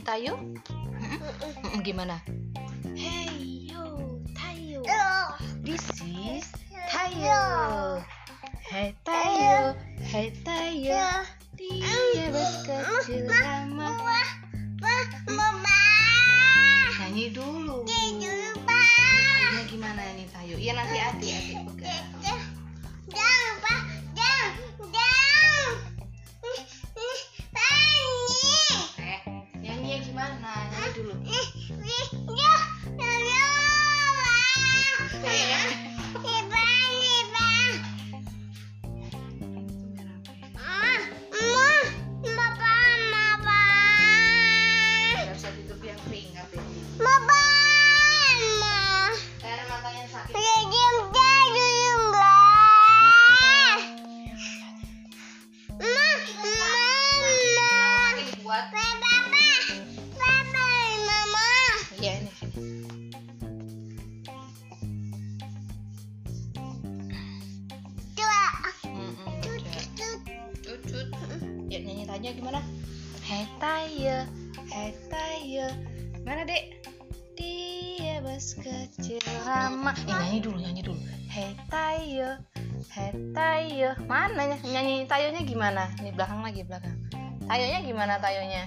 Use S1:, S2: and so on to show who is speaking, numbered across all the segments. S1: Tayo? Mm-mm, Gimana?
S2: Hey yo, Tayo. This is
S1: Tayo. Hey Tayo, hey Tayo. Dia berkecil lama. Nyanyi dulu. Ya gimana nih Tayo? Iya nanti hati hati pegang. Eh, nyanyi gimana? Nyanyi dulu. Gak bisa tidur yang keringat ya. Karena matanya sakit. Buat. Iya ini. Mm-mm, udah. Cucut. Ya nyanyi tanya gimana? Hey Tayo, hey Tayo. Mana dek? Dia bos kecil lama. Eh, nyanyi dulu, nyanyi dulu. Hey Tayo, hey Tayo. Mana ny- nyanyi Tayonya gimana? Ini belakang lagi belakang. Tayonya gimana Tayonya?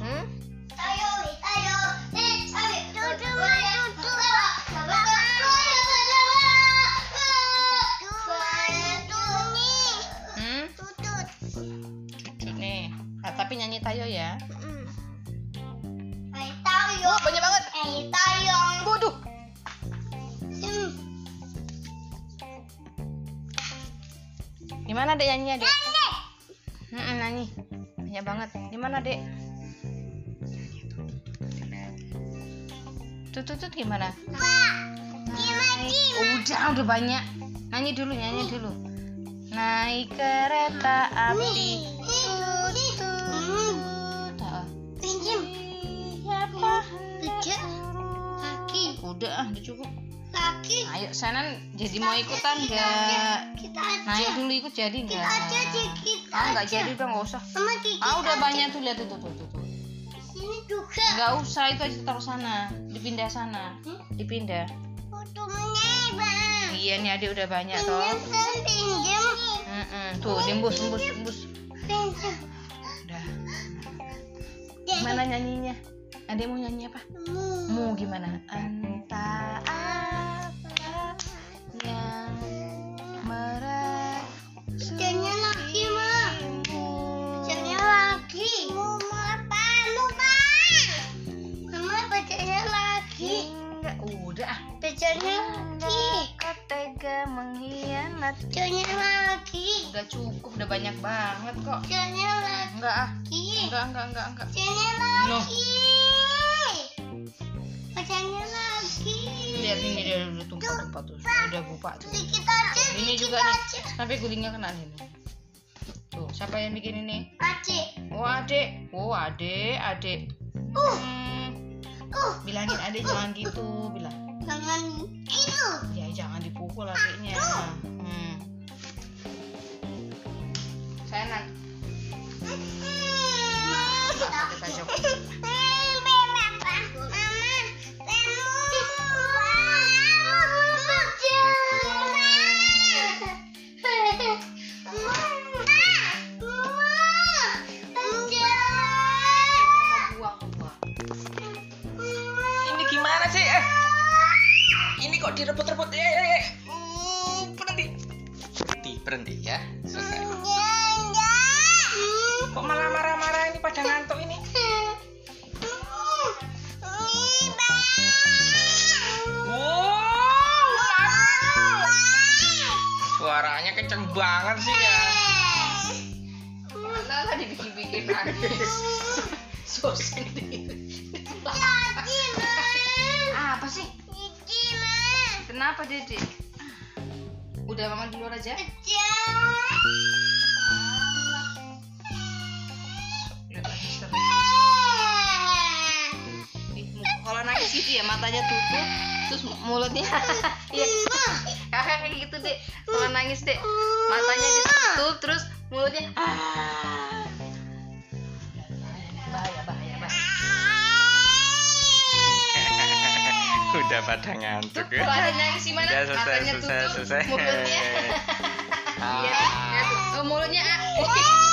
S1: Hmm? Hmm? Cucut nih. Nah, tapi nyanyi Tayo ya. Wah, banyak banget.
S2: Eh, tayong.
S1: Waduh. Gimana dek nyanyinya dek? Mm-mm, nyanyi banyak banget gimana dek tutut tut gimana naik udah udah banyak nyanyi dulu nyanyi dulu naik kereta api tutut Ah, siapa
S2: Kerja.
S1: hendak
S2: Kaki.
S1: urut? udah ah udah cukup
S2: Kaki.
S1: ayo Sanan jadi mau ikutan nggak
S2: Kita aja.
S1: naik dulu ikut jadi nggak
S2: ya. Iya. Kita aja deh, kita
S1: ah nggak
S2: aja.
S1: jadi udah nggak usah
S2: Sama dikit
S1: ah udah
S2: aja.
S1: banyak tuh lihat tuh tuh tuh tuh
S2: Ini juga.
S1: nggak usah itu aja taruh sana dipindah sana
S2: Hmm?
S1: dipindah
S2: Fotonya, Bang.
S1: iya nih adik udah banyak
S2: Pinjam,
S1: toh
S2: Bang, pinjam.
S1: Mm-mm, tuh diembus embus embus
S2: Pinjam.
S1: udah
S2: Jadi,
S1: mana nyanyinya adik mau nyanyi apa
S2: kamu.
S1: mau gimana entah apa yang
S2: Kerjanya
S1: merasukimu
S2: lagi, Ma. Kerjanya lagi. Mau apa? Mau apa? Mama bacanya lagi.
S1: hingga udah ah.
S2: Bacanya lagi.
S1: kau tega mengkhianati
S2: Bacanya lagi.
S1: udah cukup udah banyak banget kok
S2: Bacanya lagi.
S1: enggak ah enggak enggak enggak enggak
S2: Bacanya
S1: No.
S2: lagi. Bacanya lagi.
S1: lihat ini dia udah tumpah-tumpah tuh udah buka tuh
S2: Sedikit aja.
S1: Iya. ini
S2: sedikit
S1: juga nih
S2: aja.
S1: sampai gulingnya kena sini tuh siapa yang bikin ini
S2: Acik.
S1: oh adek oh adek adek
S2: Uh,
S1: Hmm,
S2: uh.
S1: bilangin adek jangan gitu bilang
S2: Jangan gitu.
S1: ya jangan dipukul adeknya hmm. Sanan Kita coba. buang buang ini gimana sih eh ini kok direbut-rebut ya ya ya Uh, berhenti
S3: berhenti berhenti ya selesai
S1: kok malah marah-marah ini pada ngantuk ini Oh. wow
S3: suaranya kenceng banget sih ya
S1: Lala dibikin-bikin nangis so sedih apa sih kenapa dede udah mama di luar aja Ya, tadi seru. Ih, mu- kalau nangis gitu ya matanya tutup terus mu- mulutnya Iya, kakak kayak gitu dek kalau nangis dek matanya ditutup terus mulutnya bahaya bahaya bahaya
S3: udah pada ngantuk
S1: Tuh,
S3: ya.
S1: kalau ada nangis gimana?
S3: Udah selesai,
S1: Matanya
S3: selesai,
S1: tutup,
S3: selesai.
S1: mulutnya. Iya,
S3: Ah.
S1: ya. Eh, mulutnya, ah.